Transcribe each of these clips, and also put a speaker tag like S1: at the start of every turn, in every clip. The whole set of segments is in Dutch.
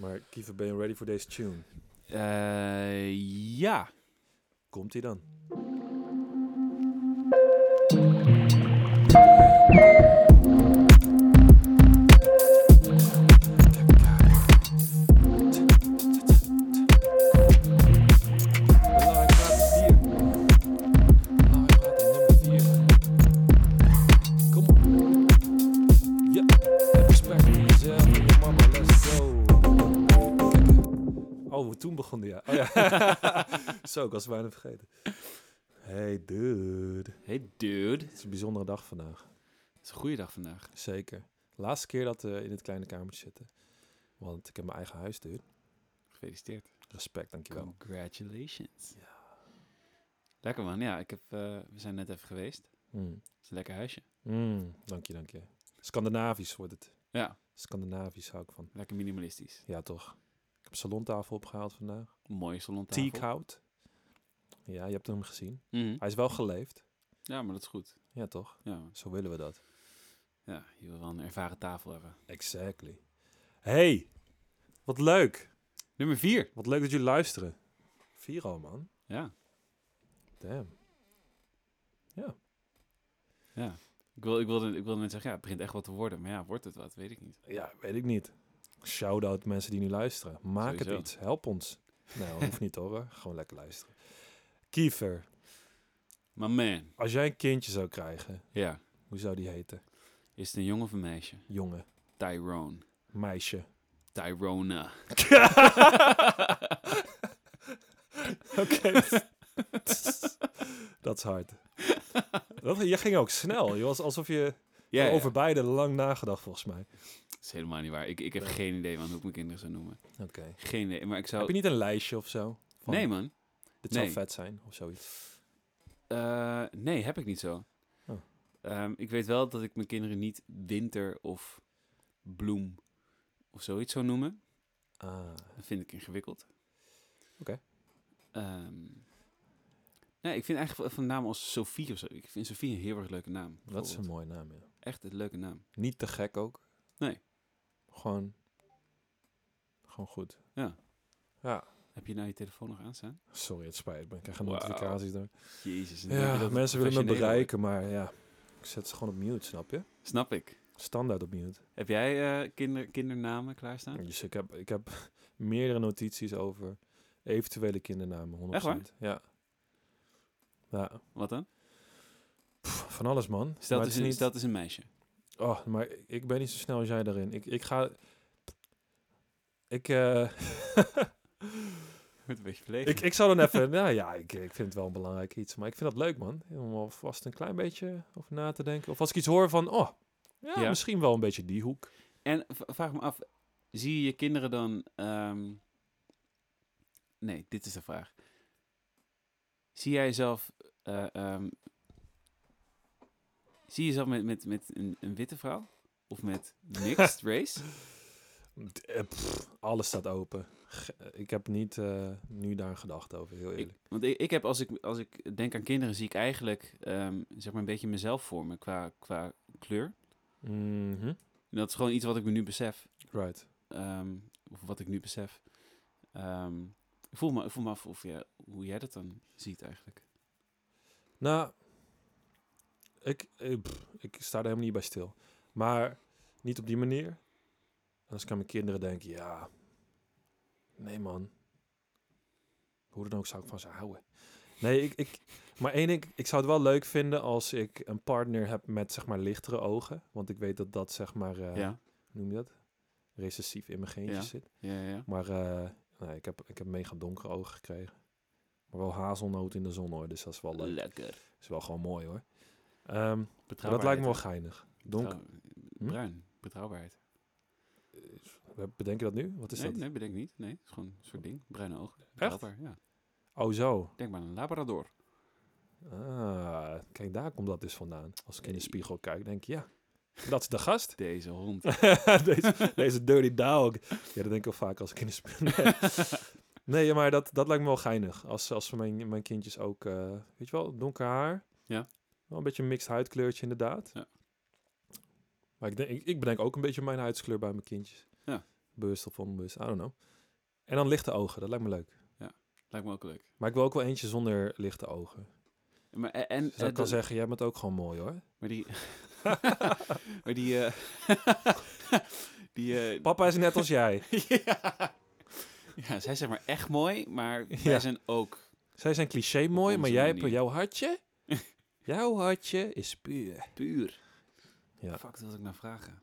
S1: Maar Kiefer, ben je ready voor deze tune?
S2: Eh, ja.
S1: Komt hij dan? eh, Oh, Toen begon die ja. Oh, ja. Zo, ik was het bijna vergeten. Hey dude.
S2: Hey dude.
S1: Het is een bijzondere dag vandaag.
S2: Het is een goede dag vandaag.
S1: Zeker. Laatste keer dat we in het kleine kamertje zitten. Want ik heb mijn eigen huis, dude.
S2: Gefeliciteerd.
S1: Respect, dankjewel.
S2: Congratulations. Lekker man, ja. Ik heb, eh, we zijn net even geweest. Het
S1: Mm.
S2: is een lekker huisje.
S1: Mm, dank je, dank je. Scandinavisch wordt het.
S2: Ja,
S1: Scandinavisch hou ik van.
S2: lekker minimalistisch.
S1: Ja, toch. Ik heb salontafel opgehaald vandaag.
S2: Mooie salontafel.
S1: Teakhout. Ja, je hebt hem gezien.
S2: Mhm.
S1: Hij is wel geleefd.
S2: Ja, maar dat is goed.
S1: Ja, toch?
S2: Ja, man.
S1: Zo willen we dat.
S2: ja, je wil wel een ervaren tafel hebben.
S1: Exactly. Hey, wat leuk.
S2: Nummer vier.
S1: Wat leuk dat jullie luisteren. Vier al, man.
S2: Ja,
S1: Damn.
S2: ja. Ik, wil, ik, wilde, ik wilde net zeggen, ja, het begint echt wat te worden. Maar ja, wordt het wat? Weet ik niet.
S1: Ja, weet ik niet. Shout-out mensen die nu luisteren. Maak
S2: Sowieso.
S1: het iets. Help ons. Nou, hoeft niet hoor. Gewoon lekker luisteren. Kiefer,
S2: Maar man.
S1: als jij een kindje zou krijgen,
S2: Ja.
S1: hoe zou die heten?
S2: Is het een jongen of een meisje?
S1: Jongen,
S2: Tyrone.
S1: meisje.
S2: Tyrona.
S1: Dat is hard. Dat, je ging ook snel. Je was alsof je
S2: Ja, ja.
S1: over beide lang nagedacht volgens mij.
S2: Dat is helemaal niet waar. Ik, ik heb geen idee man hoe ik mijn kinderen zou noemen.
S1: Oké.
S2: Geen idee. Maar ik zou...
S1: Heb je niet een lijstje of zo? Van,
S2: nee man.
S1: Dit zou
S2: nee.
S1: vet zijn of zoiets.
S2: Eh, nee, heb ik niet zo.
S1: Oh.
S2: Ehm, ik weet wel dat ik mijn kinderen niet winter of bloem of zoiets zou noemen.
S1: Ah,
S2: Dat vind ik ingewikkeld.
S1: Oké.
S2: Ehm, nee, ik vind eigenlijk van naam als Sophie of zo. Ik vind Sophie een heel erg leuke naam.
S1: dat is een
S2: bijvoorbeeld.
S1: mooie naam, ja.
S2: Echt een leuke naam.
S1: Niet te gek ook.
S2: Nee.
S1: Gewoon. Gewoon goed.
S2: Ja.
S1: Ja.
S2: Heb je nou je telefoon nog aan staan?
S1: Sorry, het spijt me. Ik krijg geen
S2: Wauw.
S1: notificaties door.
S2: Jezus. en dan
S1: Ja,
S2: denk je dat het
S1: mensen willen me
S2: professioneel wordt.
S1: bereiken, maar ja. Ik zet ze gewoon op mute, snap je?
S2: Snap ik.
S1: Standaard op mute.
S2: Heb jij eh, kinder, kindernamen klaarstaan?
S1: Dus ik heb, ik heb meerdere notities over eventuele kindernamen. 100%.
S2: Echt waar?
S1: Ja. Ja,
S2: Wat dan?
S1: pff, van alles man.
S2: Stel
S1: Maar het
S2: het is
S1: is
S2: een,
S1: niet-
S2: stel het is een meisje.
S1: Oh, maar ik ben niet zo snel als jij daarin. Ik, ik ga... Ik, eh,
S2: Wordt een beetje verlegen.
S1: ik, ik zou dan even... nou ja, ik, ik vind het wel een belangrijk iets. Maar ik vind dat leuk, man. Om alvast een klein beetje over na te denken. Of als ik iets hoor van... Oh, ja,
S2: Ja.
S1: misschien wel een beetje die hoek.
S2: En v- vraag me af, zie je je kinderen dan... ehm, Nee, dit is de vraag. Zie jij jezelf... eh, ehm, Zie je jezelf met, met, met een, een witte vrouw? Of met mixed race?
S1: D- eh, pff, alles staat open. Ge- Ik heb niet eh, nu daar een gedachte over, heel
S2: Ik,
S1: eerlijk.
S2: want ik, ik heb, als ik, als ik denk aan kinderen, zie ik eigenlijk ehm, zeg maar een beetje mezelf vormen qua, qua kleur.
S1: Mhm.
S2: En dat is gewoon iets wat ik me nu besef.
S1: Right.
S2: ehm, of wat ik nu besef. Ehm, ik, voel me, ik voel me af of jij, hoe jij dat dan ziet eigenlijk.
S1: Nou, ik, eh, pff, ik sta er helemaal niet bij stil. Maar niet op die manier. Anders kan mijn kinderen denken, ja... Nee, man. Hoe dan ook zou ik van ze houden. Nee, ik, ik, maar één ding, ik zou het wel leuk vinden als ik een partner heb met, zeg maar, lichtere ogen. Want ik weet dat dat, zeg maar, eh,
S2: Ja,
S1: hoe noem je dat? Recessief in mijn geentje
S2: Ja.
S1: zit.
S2: ja, ja. ja.
S1: Maar eh, nee, ik, heb, ik heb mega donkere ogen gekregen. Maar wel hazelnoot in de zon hoor, dus dat is wel
S2: Eh,
S1: leuk.
S2: Lekker.
S1: is wel gewoon mooi hoor. Ehm, maar dat
S2: Betrouwbaarheid,
S1: lijkt me wel
S2: hè?
S1: geinig. Donker.
S2: Betrouw-
S1: Hm?
S2: Bruin. Betrouwbaarheid.
S1: We- Bedenk je dat nu? Wat is
S2: nee,
S1: dat?
S2: nee, bedenk niet. Nee, het is gewoon een soort ding. Bruine ogen. Betrouwbaar, ja.
S1: Oh zo.
S2: Denk maar aan een labrador.
S1: Ah, kijk, daar komt dat dus vandaan. Als ik in de
S2: Hey.
S1: spiegel kijk, denk ik, ja, dat is de gast.
S2: Deze hond.
S1: deze, deze dirty dog. Ja, dat denk ik wel vaak als ik in de spiegel... Nee, nee maar dat, dat lijkt me wel geinig. Als, als mijn, mijn kindjes ook, eh, weet je wel, donker haar.
S2: Ja.
S1: Wel een beetje een mixed huidkleurtje inderdaad.
S2: Ja.
S1: Maar ik, denk, ik, ik bedenk ook een beetje mijn huidskleur bij mijn kindjes.
S2: Ja.
S1: bewust of onbewust, I don't know. En dan lichte ogen, dat lijkt me leuk.
S2: Lijkt me ook leuk.
S1: Maar ik wil ook wel eentje zonder lichte ogen.
S2: Maar, en, en,
S1: Dus dat
S2: eh,
S1: ik kan
S2: dat-
S1: zeggen, jij bent ook gewoon mooi hoor.
S2: Maar die... maar die... eh, die eh,
S1: Papa is net als jij.
S2: ja. ja, zij zijn maar echt mooi, maar
S1: Ja.
S2: wij zijn ook...
S1: Zij zijn cliché mooi,
S2: Op
S1: maar
S2: onze
S1: jij hebt
S2: manier.
S1: jouw hartje. jouw hartje is puur.
S2: Puur.
S1: Ja.
S2: Fuck, dat wil ik nou vragen.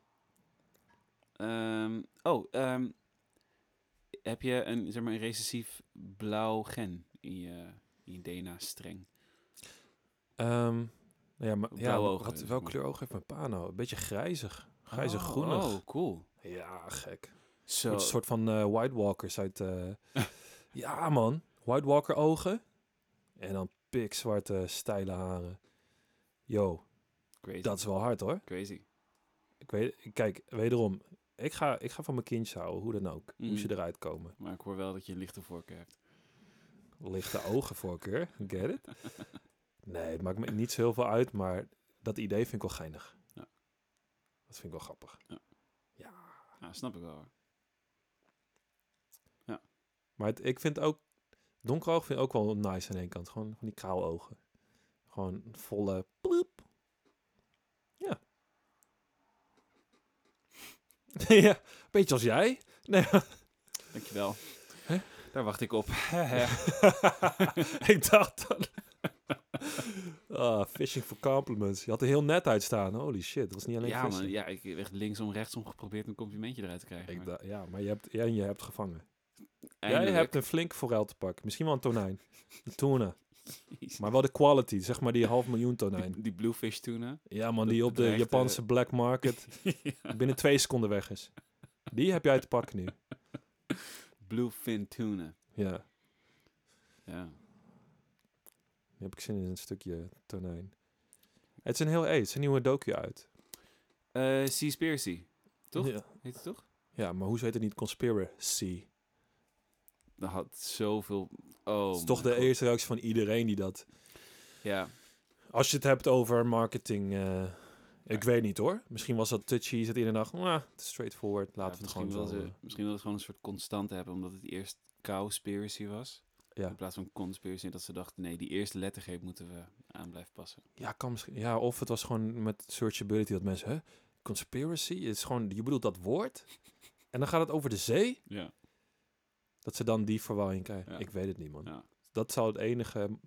S2: Ehm, oh, ehm, heb je een, zeg maar, een recessief blauw gen in je, in je DNA-streng?
S1: Ehm, nou ja, maar, ja,
S2: Blauwe ogen,
S1: wat,
S2: zeg
S1: welke
S2: maar.
S1: kleur oog heeft mijn pa nou? Een beetje grijzig. Grijzig-groenig.
S2: Oh, cool.
S1: Ja, gek.
S2: Zo.
S1: Een soort van eh, White Walkers uit... eh, ja, man. White Walker ogen. En dan pikzwarte, steile haren. Yo,
S2: Crazy.
S1: dat is wel hard hoor.
S2: Crazy.
S1: Ik weet, kijk, wederom. Ik ga, ik ga van mijn kindjes houden, hoe dan ook.
S2: Mm.
S1: Hoe ze eruit komen.
S2: Maar ik hoor wel dat je een lichte voorkeur hebt.
S1: lichte ogenvoorkeur. Get it? Nee, het maakt me niet zo heel veel uit, maar dat idee vind ik wel geinig.
S2: Ja.
S1: Dat vind ik wel grappig.
S2: Ah, snap ik wel. hoor.
S1: Maar het- ik vind ook, donker oog vind ik ook wel nice aan één kant. Gewoon, gewoon die kraalogen. Gewoon volle ploep. Ja. ja, beetje als jij.
S2: Dankjewel.
S1: Hè?
S2: Daar wacht ik op.
S1: ik dacht dat... Ah, fishing for compliments. Je had er heel net uit staan. Holy shit, dat was niet alleen
S2: ja,
S1: fishing.
S2: man, ja, ik heb echt linksom, rechtsom geprobeerd een complimentje eruit te krijgen.
S1: Ik
S2: maar
S1: da- ja, maar je hebt, ja, en je hebt gevangen.
S2: eindelijk.
S1: Jij hebt een flink forel te pakken. Misschien wel een tonijn. Een tuna.
S2: Jezus.
S1: Maar wel de quality. Zeg maar die half miljoen tonijn.
S2: Die, die bluefish tuna.
S1: Ja man,
S2: Dat
S1: die op de
S2: bedreigt, eh,
S1: Japanse black market binnen twee seconden weg is. Die heb jij te pakken nu.
S2: Bluefin tuna.
S1: Ja,
S2: Ja.
S1: nu heb ik zin in een stukje tonijn. Het is een heel eet. Het is een nieuwe docu uit.
S2: Eh Seaspiracy. Toch?
S1: Ja,
S2: Heet het toch?
S1: ja maar hoe heet het niet? Conspiracy.
S2: Dat had zoveel... Oh,
S1: het is toch de
S2: mijn god.
S1: eerste reactie van iedereen die dat...
S2: Ja.
S1: Als je het hebt over marketing... eh, ik weet niet hoor. Misschien was dat touchy. Zit iedereen dacht, "Mwah, het is nou, straightforward. Laten
S2: Ja,
S1: we het
S2: misschien
S1: gewoon
S2: wil
S1: zo... eh,
S2: ze, Misschien wil het gewoon een soort constante hebben, omdat het eerst cowspiracy was.
S1: Ja.
S2: In plaats van conspiracy, dat ze dachten, nee, die eerste lettergreep moeten we aan blijven passen.
S1: Ja, kan misschien. Ja, of het was gewoon met searchability dat mensen, hè? Conspiracy is gewoon, je bedoelt dat woord. En dan gaat het over de zee.
S2: Ja.
S1: Dat ze dan die verwarring krijgen.
S2: Ja.
S1: Ik weet het niet, man.
S2: Ja.
S1: Dat zou het enige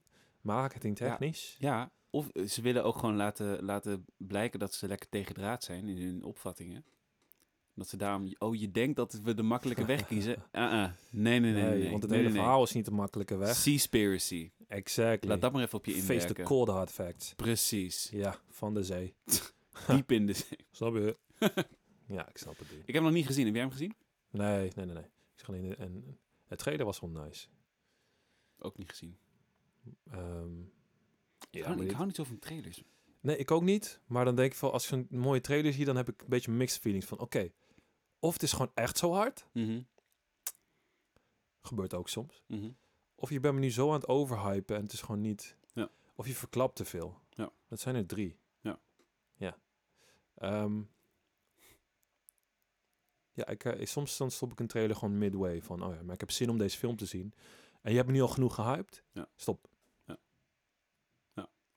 S1: marketing technisch.
S2: Ja, of eh, ze willen ook gewoon laten, laten blijken dat ze lekker tegen draad zijn in hun opvattingen. Dat ze daarom, oh, je denkt dat we de makkelijke weg kiezen? Ah, ah. nee, nee, nee, nee, nee.
S1: want het
S2: nee,
S1: hele
S2: nee, nee.
S1: verhaal is niet de makkelijke weg.
S2: Seaspiracy.
S1: Exactly.
S2: Laat dat maar even op je
S1: Face the
S2: inwerken.
S1: cold hard facts.
S2: Precies.
S1: Ja, van de zee.
S2: Diep in de zee.
S1: Snap je? ja, ik snap het. niet.
S2: Ik heb hem nog niet gezien. Heb jij hem gezien?
S1: Nee, nee, nee, nee. Ik zeg alleen, eh, en het trailer was onnice.
S2: Ook niet gezien.
S1: Ehm
S2: ik,
S1: ja,
S2: hou,
S1: maar
S2: ik
S1: dit-
S2: hou niet zo van trailers.
S1: Nee, ik ook niet. Maar dan denk ik wel, als ik zo'n mooie trailer zie, dan heb ik een beetje mixed feelings van, oké, of het is gewoon echt zo hard,
S2: Mhm,
S1: gebeurt ook soms.
S2: mhm.
S1: Of je bent me nu zo aan het overhypen en het is gewoon niet...
S2: Ja.
S1: Of je verklapt te veel.
S2: Ja.
S1: Dat zijn er drie.
S2: Ja.
S1: Ja. Ehm, ja, ik, eh, ik- soms dan stop ik een trailer gewoon midway van, oh ja, maar ik heb zin om deze film te zien. En je hebt me nu al genoeg gehyped.
S2: Ja.
S1: Stop.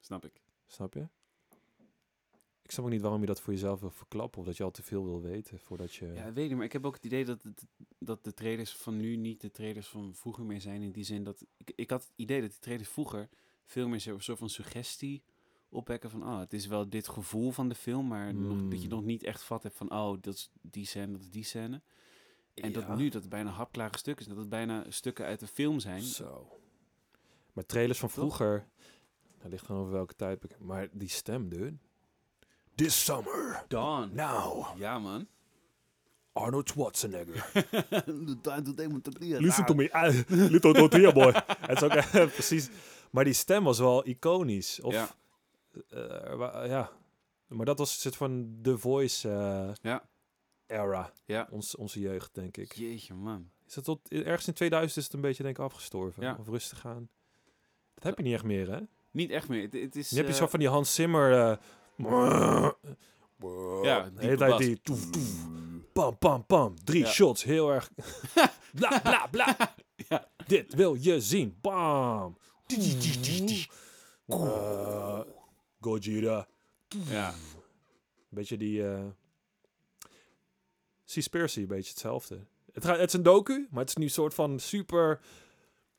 S2: Snap ik.
S1: Snap je? Ik snap ook niet waarom je dat voor jezelf wil verklappen of dat je al te veel wil weten voordat je...
S2: Ja, weet je, maar ik heb ook het idee dat, het- dat de trailers van nu niet de trailers van vroeger meer zijn. In die zin dat ik, ik had het idee dat die trailers vroeger veel meer zo- een soort van suggestie opwekken van, oh, het is wel dit gevoel van de film, maar nog, dat je
S1: Mm.
S2: nog niet echt vat hebt van, oh, dat is die scène, dat is die scène. En
S1: Ja.
S2: dat nu dat het bijna hapklare stuk is, dat het bijna stukken uit de film zijn.
S1: Zo. Maar trailers van
S2: Toch?
S1: vroeger... Dat ligt gewoon over welke tijd. ik- Maar die stem, dude. This summer,
S2: Dawn.
S1: now,
S2: Ja, man.
S1: Arnold Schwarzenegger.
S2: Listen
S1: Listen to me, I- little tortilla boy. Het is ook eh, precies... Maar die stem was wel iconisch. Of,
S2: Ja.
S1: eh, wa- ja. Maar dat was het soort van The Voice eh,
S2: Ja.
S1: era.
S2: Ja.
S1: Ons, onze jeugd, denk ik.
S2: Jeetje, man.
S1: Is dat tot, ergens in 2000 is het een beetje denk ik afgestorven.
S2: Ja.
S1: Of rustig aan. Dat heb je niet echt meer, hè?
S2: Niet echt meer. Het, het is...
S1: Nu heb je
S2: eh,
S1: zo van die Hans Zimmer... eh,
S2: Ja,
S1: de
S2: diepe
S1: hele tijd
S2: bas.
S1: die... toef, toef. Pam, pam, pam. Drie
S2: Ja.
S1: shots. Heel erg. bla, bla, bla.
S2: Ja.
S1: Dit wil je zien. Bam. Eh, Gojira.
S2: Ja.
S1: Beetje die... eh Seaspiracy, een beetje hetzelfde. Het, gaat, het is een docu, maar het is nu een soort van super...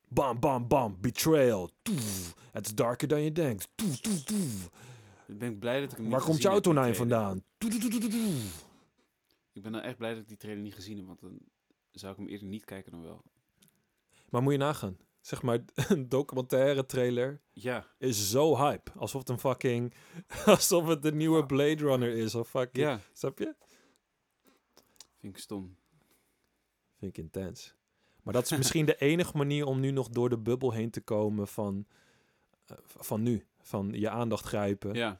S1: Bam, bam, bam. Betrayal. Toef. Het is darker dan je denkt. Toef, toef, toef.
S2: Ik ben blij dat ik hem niet
S1: Waar komt
S2: gezien
S1: jouw
S2: heb, die
S1: tonijn
S2: trailer.
S1: vandaan? Toef, toef, toef, toef, toef.
S2: Ik ben nou echt blij dat ik die trailer niet gezien heb, want dan zou ik hem eerder niet kijken dan wel.
S1: Maar moet je nagaan. Zeg maar, een documentaire trailer
S2: Ja,
S1: is zo hype. Alsof het een fucking... Alsof het de nieuwe Blade Runner is. Of fucking...
S2: ja.
S1: Snap je?
S2: Vind ik stom.
S1: Vind ik intens. Maar dat is misschien de enige manier om nu nog door de bubbel heen te komen van, eh, van nu. Van je aandacht grijpen.
S2: Ja,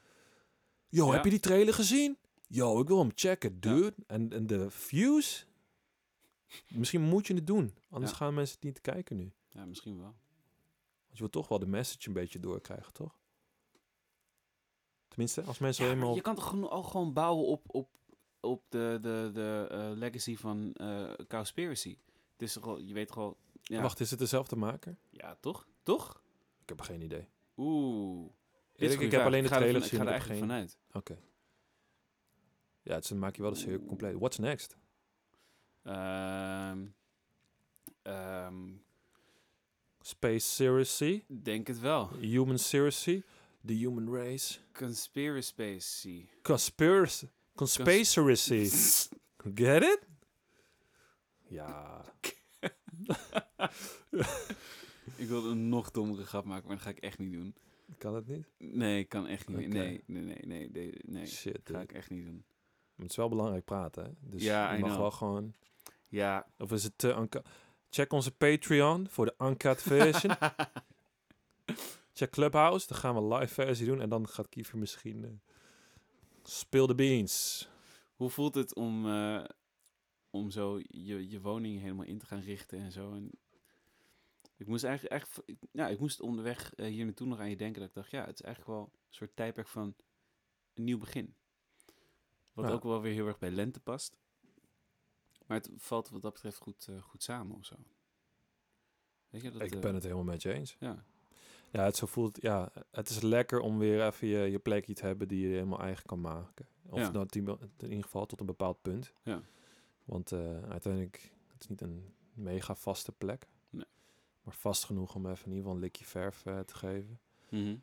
S1: Yo,
S2: Ja.
S1: heb je die trailer gezien? Yo, ik wil hem checken, dude. En, en de views? Misschien moet je het doen. Anders
S2: Ja.
S1: gaan mensen het niet kijken nu.
S2: ja misschien wel.
S1: Want je wil toch wel de message een beetje doorkrijgen, toch? Tenminste, als mensen
S2: Ja, maar
S1: helemaal...
S2: Je kan toch geno- al gewoon bouwen op, op, op de, de, de eh, legacy van eh Cowspiracy. Het is toch al, je weet toch al... Ja,
S1: Wacht, is het dezelfde maker?
S2: ja toch? Toch?
S1: Ik heb geen idee.
S2: Oeh.
S1: Ik,
S2: een goede
S1: ik heb
S2: vraag.
S1: alleen de
S2: ga er
S1: trailer
S2: van-
S1: gezien.
S2: Ik ga er
S1: ik heb
S2: eigenlijk
S1: geen-
S2: vanuit.
S1: Ja, het is, dan maak je wel de cirkel compleet. What's next?
S2: Ehm, ehm,
S1: Space Series C?
S2: denk het wel.
S1: Human Seriously, The Human Race,
S2: Conspiracy.
S1: Conspiracy, Conspiracy. Get it? Ja.
S2: ik wilde een nog dommere grap maken, maar dat ga ik echt niet doen.
S1: Kan het niet?
S2: Nee, ik kan echt niet.
S1: Oké.
S2: Nee, nee, nee, nee, nee, nee.
S1: Shit.
S2: Ga
S1: dude.
S2: ik echt niet doen.
S1: Maar het is wel belangrijk praten, hè? Dus
S2: Ja,
S1: je
S2: I
S1: mag
S2: know.
S1: wel gewoon...
S2: Ja.
S1: Of is het te uncut? Check onze Patreon voor de uncut version. Check Clubhouse, dan gaan we een live versie doen. En dan gaat Kiefer misschien... eh speel de beans.
S2: Hoe voelt het om, eh, om zo je, je woning helemaal in te gaan richten en zo? En ik moest eigenlijk, eigenlijk ik- ja, ik moest onderweg eh, hier naartoe nog aan je denken. Dat ik dacht, ja, het is eigenlijk wel een soort tijdperk van een nieuw begin. Wat
S1: Ja.
S2: ook wel weer heel erg bij lente past. Maar het valt wat dat betreft goed, eh, goed samen of zo. Weet je, dat,
S1: Ik
S2: eh,
S1: ben het helemaal met je eens.
S2: Ja,
S1: Ja, het, zo voelt, ja, het is lekker om weer even je, je plekje te hebben die je helemaal eigen kan maken. Of
S2: Ja.
S1: dat die- in ieder geval tot een bepaald punt.
S2: Ja.
S1: Want eh, uiteindelijk, het is niet een mega vaste plek.
S2: Nee.
S1: Maar vast genoeg om even in ieder geval een likje verf eh, te geven.
S2: Mhm.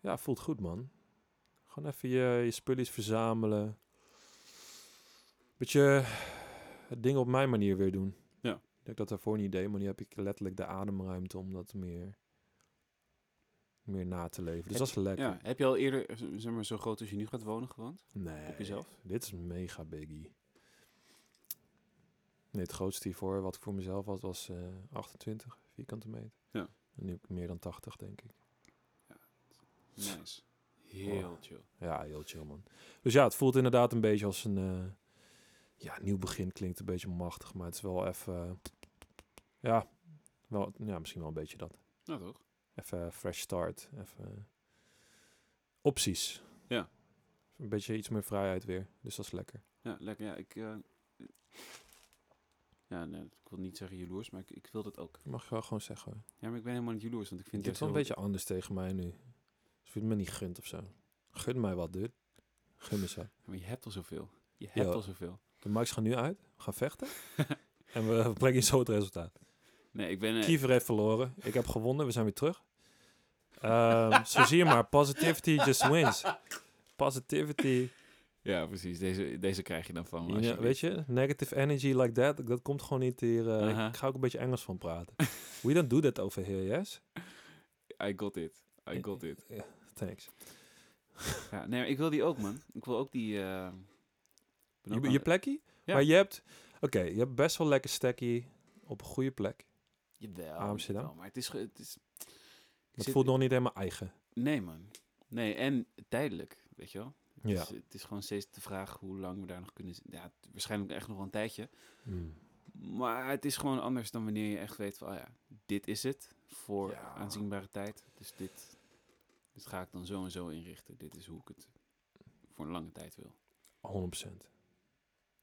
S1: Ja, voelt goed man. Gewoon even je, je spulletjes verzamelen. Beetje het ding op mijn manier weer doen.
S2: Ja.
S1: Ik denk dat daarvoor niet deed, maar nu heb ik letterlijk de ademruimte om dat meer, meer na te leven. Dus
S2: Heb-
S1: dat is lekker.
S2: ja. Heb je al eerder, eh, z- zeg maar, zo groot als je nu gaat wonen gewoond?
S1: Nee.
S2: Op jezelf?
S1: Dit is mega biggie. Nee, het grootste hiervoor wat ik voor mezelf had was eh, 28 vierkante meter.
S2: Ja.
S1: En nu heb ik meer dan 80, denk ik.
S2: Nice. Heel chill.
S1: Ja, heel chill, man. Dus ja, het voelt inderdaad een beetje als een... eh, ja, nieuw begin klinkt een beetje machtig, maar het is wel even... ja, wel, ja, misschien wel een beetje dat.
S2: Nou toch?
S1: Even fresh start, even... Opties.
S2: Ja.
S1: Een beetje iets meer vrijheid weer, dus dat is lekker.
S2: Ja, lekker. Ja, ik, eh, ja nee, ik wil niet zeggen jaloers, maar ik, ik wil dat ook.
S1: Je mag je wel gewoon zeggen. hoor.
S2: Ja, maar ik ben helemaal niet jaloers, want ik
S1: Je
S2: vind
S1: doet
S2: het
S1: wel een beetje anders tegen mij nu. Of je het me niet gunt of zo. Gun mij wat, dude. Gun me zo.
S2: Maar je hebt al zoveel. Je hebt
S1: Ja.
S2: al zoveel.
S1: De mics gaan nu uit. We gaan vechten. en we brengen zo het resultaat.
S2: Nee, ik ben... eh,
S1: Kiever heeft verloren. Ik heb gewonnen. We zijn weer terug. Ehm, zo zie je maar. Positivity just wins. Positivity.
S2: ja, precies. Deze, deze krijg je dan van me. als
S1: you
S2: je
S1: know, weet je? Negative energy like that. Dat komt gewoon niet hier. eh,
S2: Aha.
S1: Ik ga ook een beetje Engels van praten. We don't do that over here, yes?
S2: I got it. I got it.
S1: Ja, thanks.
S2: Ja, nee, maar ik wil die ook, man. Ik wil ook die... eh, ik ben ook
S1: Je,
S2: aan-
S1: je plekkie?
S2: Ja.
S1: Maar je hebt... Oké, je hebt best wel lekker stekkie op een goede plek.
S2: Jawel,
S1: Amsterdam.
S2: jawel, maar het is... ge- Het is ik
S1: Het
S2: zit-
S1: voelt nog niet helemaal eigen.
S2: Nee, man. Nee, en tijdelijk, weet je wel.
S1: Ja.
S2: Dus het is gewoon steeds de vraag hoe lang we daar nog kunnen zitten. Ja, het- waarschijnlijk echt nog wel een tijdje.
S1: Mm,
S2: Maar het is gewoon anders dan wanneer je echt weet van, oh ja, dit is het voor
S1: Ja.
S2: aanzienbare tijd. Dus dit, dit ga ik dan zo en zo inrichten. Dit is hoe ik het voor een lange tijd wil.
S1: 100%.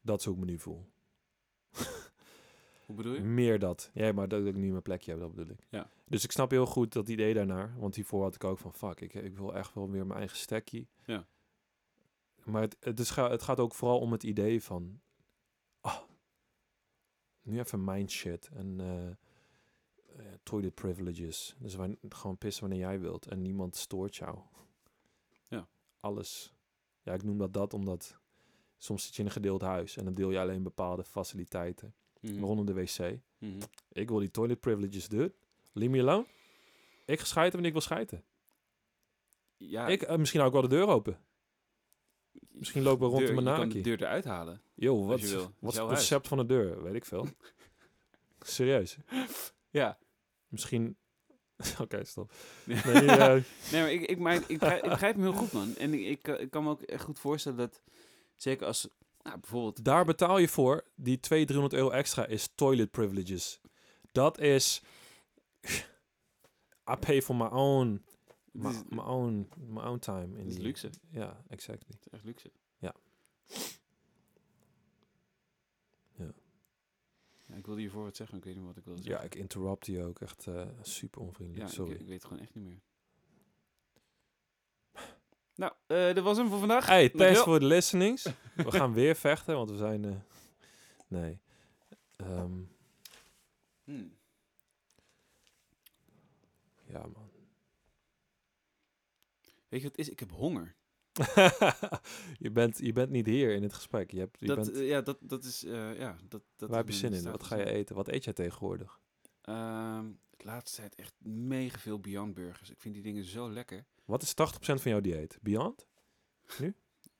S1: Dat is hoe ik me nu voel.
S2: Hoe bedoel je?
S1: Meer dat. Ja, maar dat ik nu mijn plekje heb, dat bedoel ik.
S2: Ja.
S1: Dus ik snap heel goed dat idee daarnaar. Want hiervoor had ik ook van, fuck, ik, ik wil echt wel weer mijn eigen stekje.
S2: Ja.
S1: Maar het, het, is, ga- het gaat ook vooral om het idee van, ah, nu even mind shit en eh eh, toilet privileges. Dus wan- gewoon pissen wanneer jij wilt en niemand stoort jou.
S2: Ja.
S1: Alles. Ja, ik noem dat dat omdat soms zit je in een gedeeld huis en dan deel je alleen bepaalde faciliteiten,
S2: Mhm.
S1: waaronder de wc.
S2: Mhm.
S1: Ik wil die toilet privileges, dude. Leave me alone. Ik ga schijten wanneer ik wil schijten.
S2: Ja,
S1: Ik, eh, misschien hou ik wel de deur open. misschien lopen we rond
S2: deur,
S1: in mijn
S2: Je kan de
S1: naakie.
S2: deur eruit halen.
S1: Yo, wat,
S2: je
S1: is-
S2: wil.
S1: wat is
S2: Jouw
S1: het
S2: huis.
S1: concept van de deur? Weet ik veel. Serieus.
S2: Ja.
S1: Misschien... Oké, stop.
S2: Nee.
S1: Nee, eh,
S2: Nee, maar ik, ik, maar ik, begrijp, ik begrijp hem heel goed, man. En ik, ik, eh, ik kan me ook echt goed voorstellen dat... Zeker als... Nou, bijvoorbeeld...
S1: daar betaal je voor. Die 200, 300 euro extra is toilet privileges. Dat is... I pay for my own...
S2: Het
S1: My,
S2: is,
S1: my own, my own time. In
S2: het is
S1: die,
S2: luxe.
S1: Ja, exactly.
S2: Het is echt luxe.
S1: Ja. Ja.
S2: Ja, Ik wilde hiervoor wat zeggen, maar ik weet niet wat ik wilde
S1: Ja,
S2: zeggen.
S1: ik interrupt je ook echt eh, super
S2: Ja,
S1: onvriendelijk.
S2: ik-
S1: Sorry.
S2: Ik, weet het gewoon echt niet meer. Nou, eh dat was hem voor vandaag.
S1: Hey,
S2: Dankjewel.
S1: thanks voor het listenings. We gaan weer vechten, want we zijn... eh, nee. Ehm,
S2: Hmm.
S1: ja, man.
S2: Weet je wat het is? Ik heb honger.
S1: je, bent, je bent niet hier in het gesprek. Je hebt, je
S2: dat,
S1: bent,
S2: eh, ja, dat, dat is... eh, ja, dat, dat
S1: waar heb je
S2: is
S1: zin
S2: mijn
S1: in? Wat ga je
S2: status.
S1: eten? Wat eet jij tegenwoordig?
S2: Ehm, de laatste tijd echt mega veel Beyond Burgers. Ik vind die dingen zo lekker.
S1: Wat is 80% van jouw dieet? Beyond?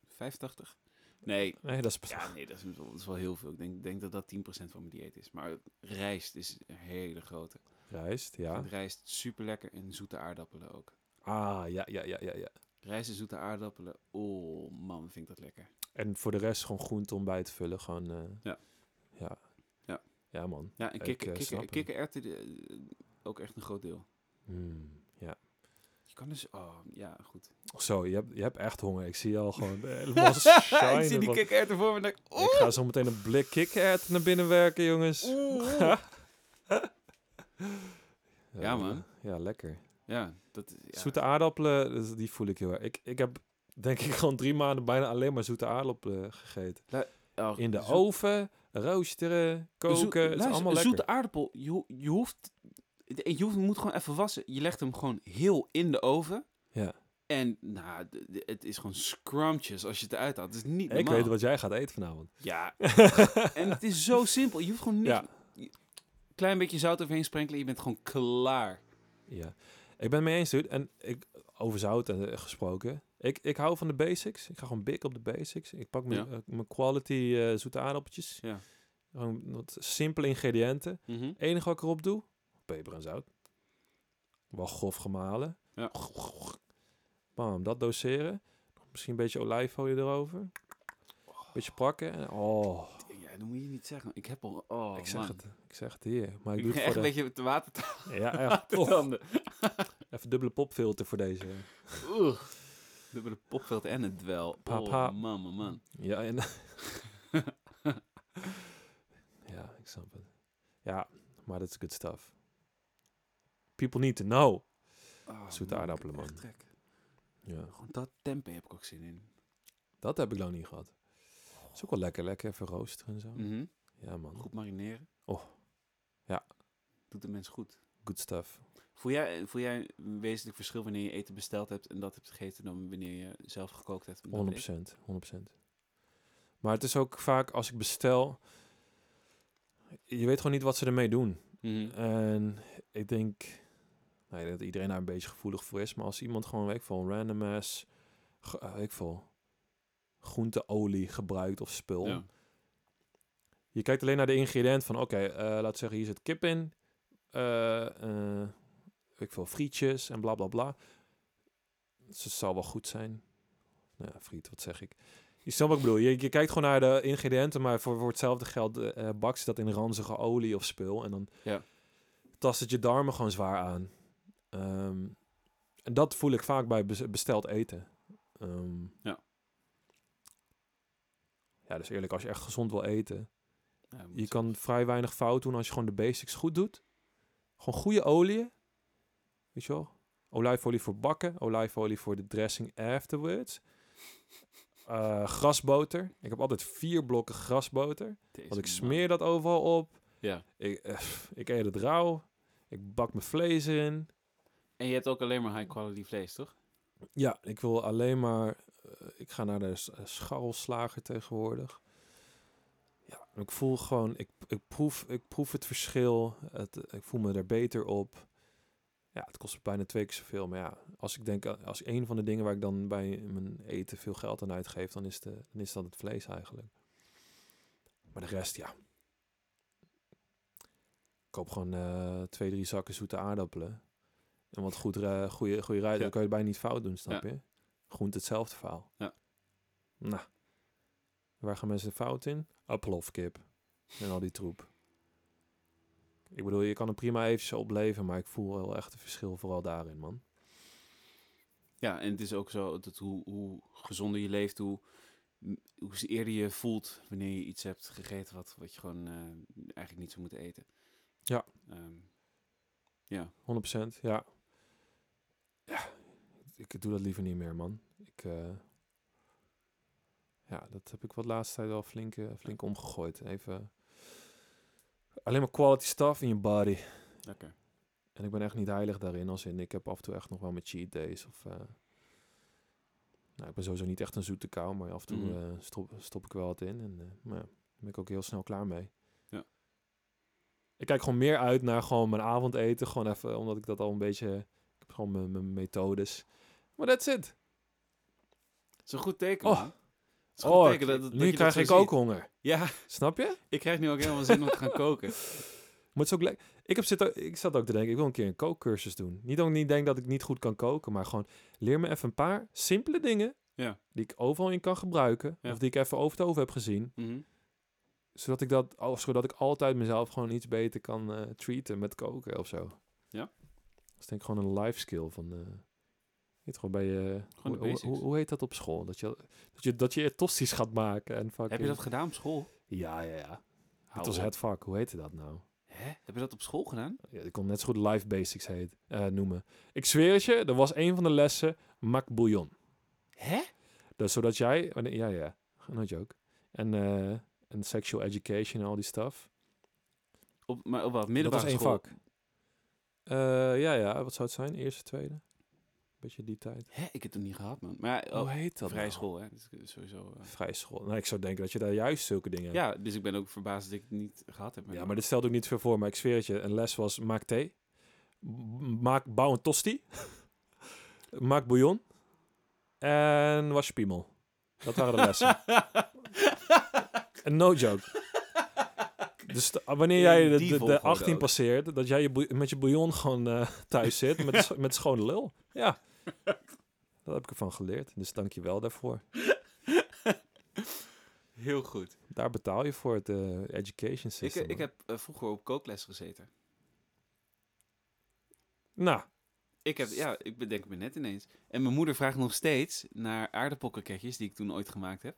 S2: 85? Nee,
S1: Nee, dat is...
S2: ja, nee dat, is wel, dat is wel heel veel. Ik denk, denk dat dat 10% van mijn dieet is. Maar rijst is een hele grote.
S1: Rijst,
S2: Ik
S1: ja.
S2: vind rijst super lekker en zoete aardappelen ook.
S1: Ah, ja, ja, ja, ja, ja.
S2: Rijst en zoete aardappelen. Oh man, vind ik dat lekker.
S1: En voor de rest gewoon groente om bij te vullen. Gewoon, eh,
S2: Ja.
S1: ja.
S2: Ja.
S1: Ja, man.
S2: Ja, en
S1: Ik,
S2: kikker,
S1: eh, snap
S2: kikker,
S1: hem.
S2: kikkererwten, die, eh, ook echt een groot deel.
S1: Hmm, ja.
S2: Je kan dus... Oh, ja, goed.
S1: Zo, je hebt, je hebt echt honger. Ik zie je al gewoon helemaal
S2: Ah, ik
S1: shinen
S2: zie die
S1: van-
S2: kikkererwten voor me en denk... Oh,
S1: Ik ga zo meteen een blik kikkererwten naar binnen werken, jongens.
S2: oeh. Ja, man.
S1: Ja, lekker.
S2: Ja, dat... Ja.
S1: Zoete aardappelen, dus die voel ik heel erg. Ik, ik heb denk ik gewoon drie maanden bijna alleen maar zoete aardappelen gegeten.
S2: Oh,
S1: In de
S2: zoet-
S1: oven, roosteren, koken.
S2: Een zoet-
S1: het is
S2: luister,
S1: allemaal
S2: een
S1: lekker.
S2: zoete aardappel, je, ho- je hoeft... Je hoeft, moet gewoon even wassen. Je legt hem gewoon heel in de oven.
S1: Ja.
S2: En nou, d- d- het is gewoon scrumptious als je het eruit haalt. Het is niet
S1: Ik
S2: normaal.
S1: weet wat jij gaat eten vanavond.
S2: Ja. en het is zo simpel. Je hoeft gewoon niks...
S1: Ja.
S2: Klein beetje zout overheen sprenkelen. Je bent gewoon klaar.
S1: Ja. Ik ben het mee eens, dude. En ik, over zout eh, gesproken. Ik, ik hou van de basics. Ik ga gewoon big op de basics. Ik pak mijn
S2: Ja.
S1: eh, mijn quality eh, zoete aardappeltjes.
S2: Ja.
S1: Gewoon wat simpele ingrediënten. enige wat ik erop doe, peper en zout. Wel grof gemalen.
S2: Ja.
S1: Bam, dat doseren. Misschien een beetje olijfolie erover. Beetje plakken. En, oh,
S2: Ja, dat moet je niet zeggen. Ik heb al... Oh,
S1: ik zeg
S2: man.
S1: het. Ik zeg het hier. Maar ik,
S2: Ik
S1: doe
S2: begin
S1: het
S2: echt
S1: voor
S2: een
S1: de... Oh.
S2: beetje te water te
S1: Ja, echt. Oh,
S2: tanden.
S1: even dubbele popfilter voor deze.
S2: Oeh. Dubbele popveld en het dwel.
S1: Pap,
S2: oh,
S1: pap.
S2: man, man, man.
S1: Ja, en... ja, ik snap het. Ja, maar dat is good stuff. People need to know.
S2: Oh,
S1: Zoete
S2: man, ik
S1: aardappelen,
S2: heb echt
S1: man.
S2: trek.
S1: Ja,
S2: Gewoon dat tempeh heb ik ook zin in.
S1: dat heb ik lang niet gehad. Is ook wel lekker. Lekker even roosteren en zo. Ja, man.
S2: Mm. Goed marineren.
S1: Mhm. Oh. Ja.
S2: Doet de mens goed.
S1: Good stuff.
S2: Voel jij, voel jij een wezenlijk verschil wanneer je eten besteld hebt en dat hebt gegeten dan wanneer je zelf gekookt hebt? en dat
S1: 100%.
S2: eet?
S1: 100%. Maar het is ook vaak als ik bestel. Je weet gewoon niet wat ze ermee doen.
S2: Mhm.
S1: Eh, En ik denk. Nou, ik denk dat iedereen daar een beetje gevoelig voor is. Maar als iemand gewoon, weet ik veel, random ass. ge- eh, weet ik veel. Groenteolie gebruikt of spul.
S2: Ja.
S1: Je kijkt alleen naar de ingrediënt van, oké, eh laten we zeggen, hier zit kip in. eh, eh, weet ik veel, frietjes en bla bla bla. Dus het zal wel goed zijn. Nou ja, friet, wat zeg ik. Je snapt wat ik bedoel. Je, je kijkt gewoon naar de ingrediënten, maar voor, voor hetzelfde geld eh bak ze dat in ranzige olie of spul. En dan
S2: Ja.
S1: tast het je darmen gewoon zwaar aan. Ehm, en dat voel ik vaak bij bes- besteld eten. Ehm,
S2: Ja.
S1: Ja, dus eerlijk, als je echt gezond wil eten,
S2: Ja, moet-
S1: je kan vrij weinig fout doen als je gewoon de basics goed doet. Gewoon goede olie. Weet je wel? Olijfolie voor bakken, olijfolie voor de dressing afterwards. Eh, grasboter. Ik heb altijd vier blokken grasboter.
S2: Deze
S1: Want ik
S2: man.
S1: smeer dat overal op.
S2: Ja.
S1: Ik, eh, ik eet het rauw. Ik bak mijn vlees erin.
S2: En je hebt ook alleen maar high quality vlees, toch?
S1: Ja, ik wil alleen maar. eh, ik ga naar de s- eh, scharrelslager tegenwoordig. Ja, ik voel gewoon. Ik, ik, proef, ik proef het verschil. Het, ik voel me daar beter op. Ja, het kost bijna twee keer zoveel. Maar ja, als ik denk. aan- Als een van de dingen waar ik dan bij mijn eten veel geld aan uitgeef. dan is, de, dan is dat het vlees eigenlijk. Maar de rest, ja. Ik koop gewoon eh, twee, drie zakken zoete aardappelen. En wat goed, eh, goede, goede rijden,
S2: Ja.
S1: dan kan je het bijna niet fout doen, snap
S2: Ja.
S1: je? Groente hetzelfde verhaal.
S2: Ja.
S1: Nou, waar gaan mensen fout in? Appel of kip. En al die troep. Ik bedoel, je kan er prima eventjes op leven, maar ik voel wel echt een verschil vooral daarin, man.
S2: Ja, en het is ook zo dat hoe, hoe gezonder je leeft, hoe, hoe eerder je voelt wanneer je iets hebt gegeten wat, wat je gewoon eh, eigenlijk niet zou moeten eten.
S1: Ja.
S2: Ehm,
S1: 100%, ja. Ja, ik doe dat liever niet meer, man. Ik, eh, ja, dat heb ik wat laatste tijd wel flink, eh, flink omgegooid. Even alleen maar quality stuff in je body.
S2: Lekker.
S1: En ik ben echt niet heilig daarin, als in ik heb af en toe echt nog wel mijn cheat days of... eh, nou, ik ben sowieso niet echt een zoete kou, maar af en toe
S2: Mhm.
S1: eh, stop, stop ik wel wat in. En, eh, maar ja, daar ben ik ook heel snel klaar mee.
S2: Ja.
S1: Ik kijk gewoon meer uit naar gewoon mijn avondeten. Gewoon even, omdat ik dat al een beetje... Ik heb gewoon mijn, mijn methodes. Maar that's it.
S2: Het is een goed teken,
S1: Oh.
S2: man. Het is een goed
S1: Oh,
S2: teken dat, dat- dat
S1: nu
S2: je dat
S1: krijg
S2: zo
S1: ik
S2: ziet.
S1: ook honger.
S2: Ja,
S1: Snap je?
S2: ik krijg nu ook helemaal zin om te gaan koken.
S1: Maar het is ook lekker. Ik, heb zit, ik zat ook te denken, ik wil een keer een kookcursus doen. Niet dat ik niet denk dat ik niet goed kan koken, maar gewoon leer me even een paar simpele dingen
S2: Ja.
S1: die ik overal in kan gebruiken.
S2: Ja.
S1: Of die ik even over het over heb gezien.
S2: Mhm.
S1: Zodat ik, dat, al- zodat ik altijd mezelf gewoon iets beter kan eh, treaten met koken of zo.
S2: Ja.
S1: Dat is denk ik gewoon een life skill van... eh weet je, gewoon bij je...
S2: Gewoon de
S1: hoe, hoe,
S2: basics.
S1: hoe- hoe heet dat op school? Dat je, dat je, dat je tosties gaat maken en fucking...
S2: Heb je dat gedaan op school?
S1: Ja, ja, ja. Het
S2: Hou
S1: was
S2: op.
S1: het vak. Hoe heette dat nou?
S2: Hè? Heb je dat op school gedaan?
S1: Ja, ik kon het net zo goed Live Basics heet, eh, noemen. Ik zweer het je, er was een van de lessen, maak bouillon.
S2: Hè?
S1: Dus zodat jij, wanneer- ja ja, no joke. En, eh, en sexual education en al die stuff.
S2: Op, maar
S1: Dat
S2: op wat?
S1: was
S2: Middelbare
S1: één
S2: school?
S1: vak. Eh, ja ja, wat zou het zijn? Eerste, tweede? Beetje die tijd.
S2: Hè? Ik heb het niet gehad, man. Maar ja,
S1: Hoe
S2: oh,
S1: heet dat
S2: vrij
S1: nou?
S2: school, hè? Dus sowieso... eh.
S1: Vrij school. Nou, ik zou denken dat je daar juist zulke dingen
S2: Ja, dus ik ben ook verbaasd dat ik het niet gehad heb.
S1: Ja, maar dit stelt ook niet veel voor. Maar ik zweer het je, een les was maak thee. M- Maak, bouw een tosti. maak bouillon. En was je piemel. Dat waren de lessen. En no joke. Dus t- wanneer
S2: In
S1: jij de,
S2: die
S1: de, de
S2: volgorde
S1: 18
S2: ook.
S1: passeert, dat jij je bou- met je bouillon gewoon eh, thuis zit met, scho- met schone lul. Ja. Dat heb ik ervan geleerd. Dus dank je wel daarvoor.
S2: Heel goed.
S1: Daar betaal je voor het eh, education
S2: Ik,
S1: system.
S2: eh, ik
S1: man.
S2: heb eh, vroeger op kookles gezeten.
S1: Nou,
S2: Ik heb, ja, ik bedenk me net ineens. En mijn moeder vraagt nog steeds naar aardappelkroketjes die ik toen ooit gemaakt heb.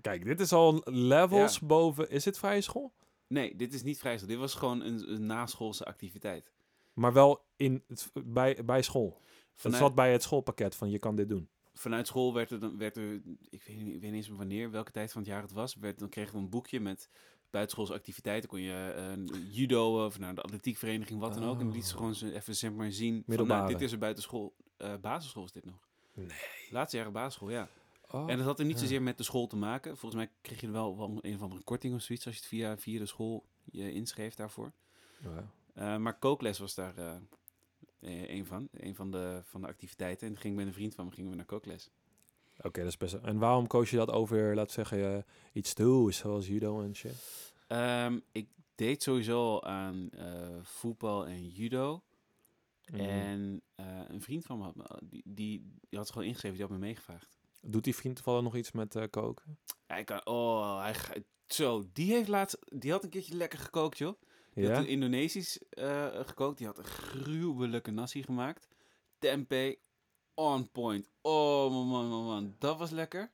S1: Kijk, dit is al levels boven. Is dit vrije school?
S2: Nee, dit is niet vrij school. Dit was gewoon een, een naschoolse activiteit.
S1: Maar wel in het, bij, bij school. Dat
S2: Vanuit,
S1: zat bij het schoolpakket van je kan dit doen.
S2: vanuit school werd er, dan- werd er ik, weet niet, ik weet niet eens meer wanneer, welke tijd van het jaar het was. Werd, dan kregen we een boekje met buitenschoolse activiteiten. Kon je eh, judo of naar de atletiekvereniging, wat dan ook. En dan liet ze
S1: Oh.
S2: gewoon ze even zeg maar, zien. Van, nou,
S1: Middelbare.
S2: dit is een buitenschool. eh, basisschool is dit nog.
S1: Nee.
S2: Laatste jaren basisschool, ja. En dat had er niet
S1: Oh. ja.
S2: zozeer met de school te maken. Volgens mij kreeg je er wel, wel een of andere korting of zoiets als je het via, via de school je inschreef daarvoor.
S1: Ja.
S2: Eh, maar kookles was daar eh, eh, een van. Een van de, van de activiteiten. En dan ging ik met een vriend van me gingen we naar kookles.
S1: Oké, dat is best. En waarom koos je dat over, laten zeggen, eh, iets toe, zoals judo en shit?
S2: Ehm, ik deed sowieso al aan eh, voetbal en judo.
S1: Mm. Mhm.
S2: En eh, een vriend van me, had me- die, die, die had het gewoon ingeschreven, die had me meegevraagd.
S1: Doet die vriend toevallig nog iets met eh, koken?
S2: Hij kan, oh, hij, ga- zo, die heeft laatst, die had een keertje lekker gekookt, joh. Die had
S1: Ja?
S2: een Indonesisch eh, gekookt. Die had een gruwelijke nasi gemaakt. Tempeh on point. Oh man, man, man, man. Dat was lekker.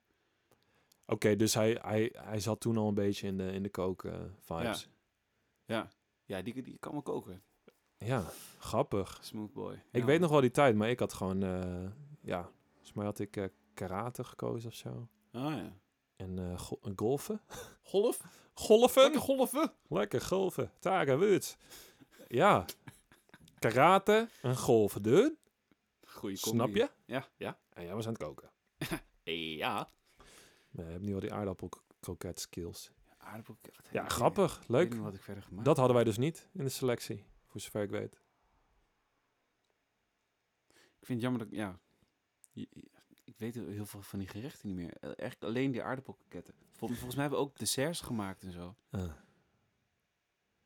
S1: Oké, dus hij, hij, hij zat toen al een beetje in de, in de eh, coke-vibes.
S2: Ja, ja die, die kan wel koken.
S1: Ja. grappig.
S2: Smooth boy.
S1: Ik
S2: Ja.
S1: weet nog wel die tijd, maar ik had gewoon... eh, ja, volgens mij had ik eh, karate gekozen of zo.
S2: Oh ja.
S1: En eh, go- golfen.
S2: Golf?
S1: Golfen?
S2: golven?
S1: Lekker golven. Tara Woods. Ja. Karate en golven, dude.
S2: Goeie combi.
S1: Snap je?
S2: Ja, ja.
S1: En jij was aan het koken.
S2: Eh, Ja.
S1: Nee, ik heb nu al die aardappelkroket skills.
S2: Aardappel. wat heb
S1: Ja,
S2: ik-
S1: grappig.
S2: Ik weet
S1: Leuk.
S2: niet wat ik verder gemaakt
S1: Dat hadden wij dus niet in de selectie, voor zover ik weet.
S2: Ik vind het jammer dat ik, ja. Je- je- Ik weet heel- heel veel van die gerechten niet meer. Eh, Eigenlijk alleen die aardappelketketten. Vol, volgens mij hebben we ook desserts gemaakt en zo.
S1: Ah.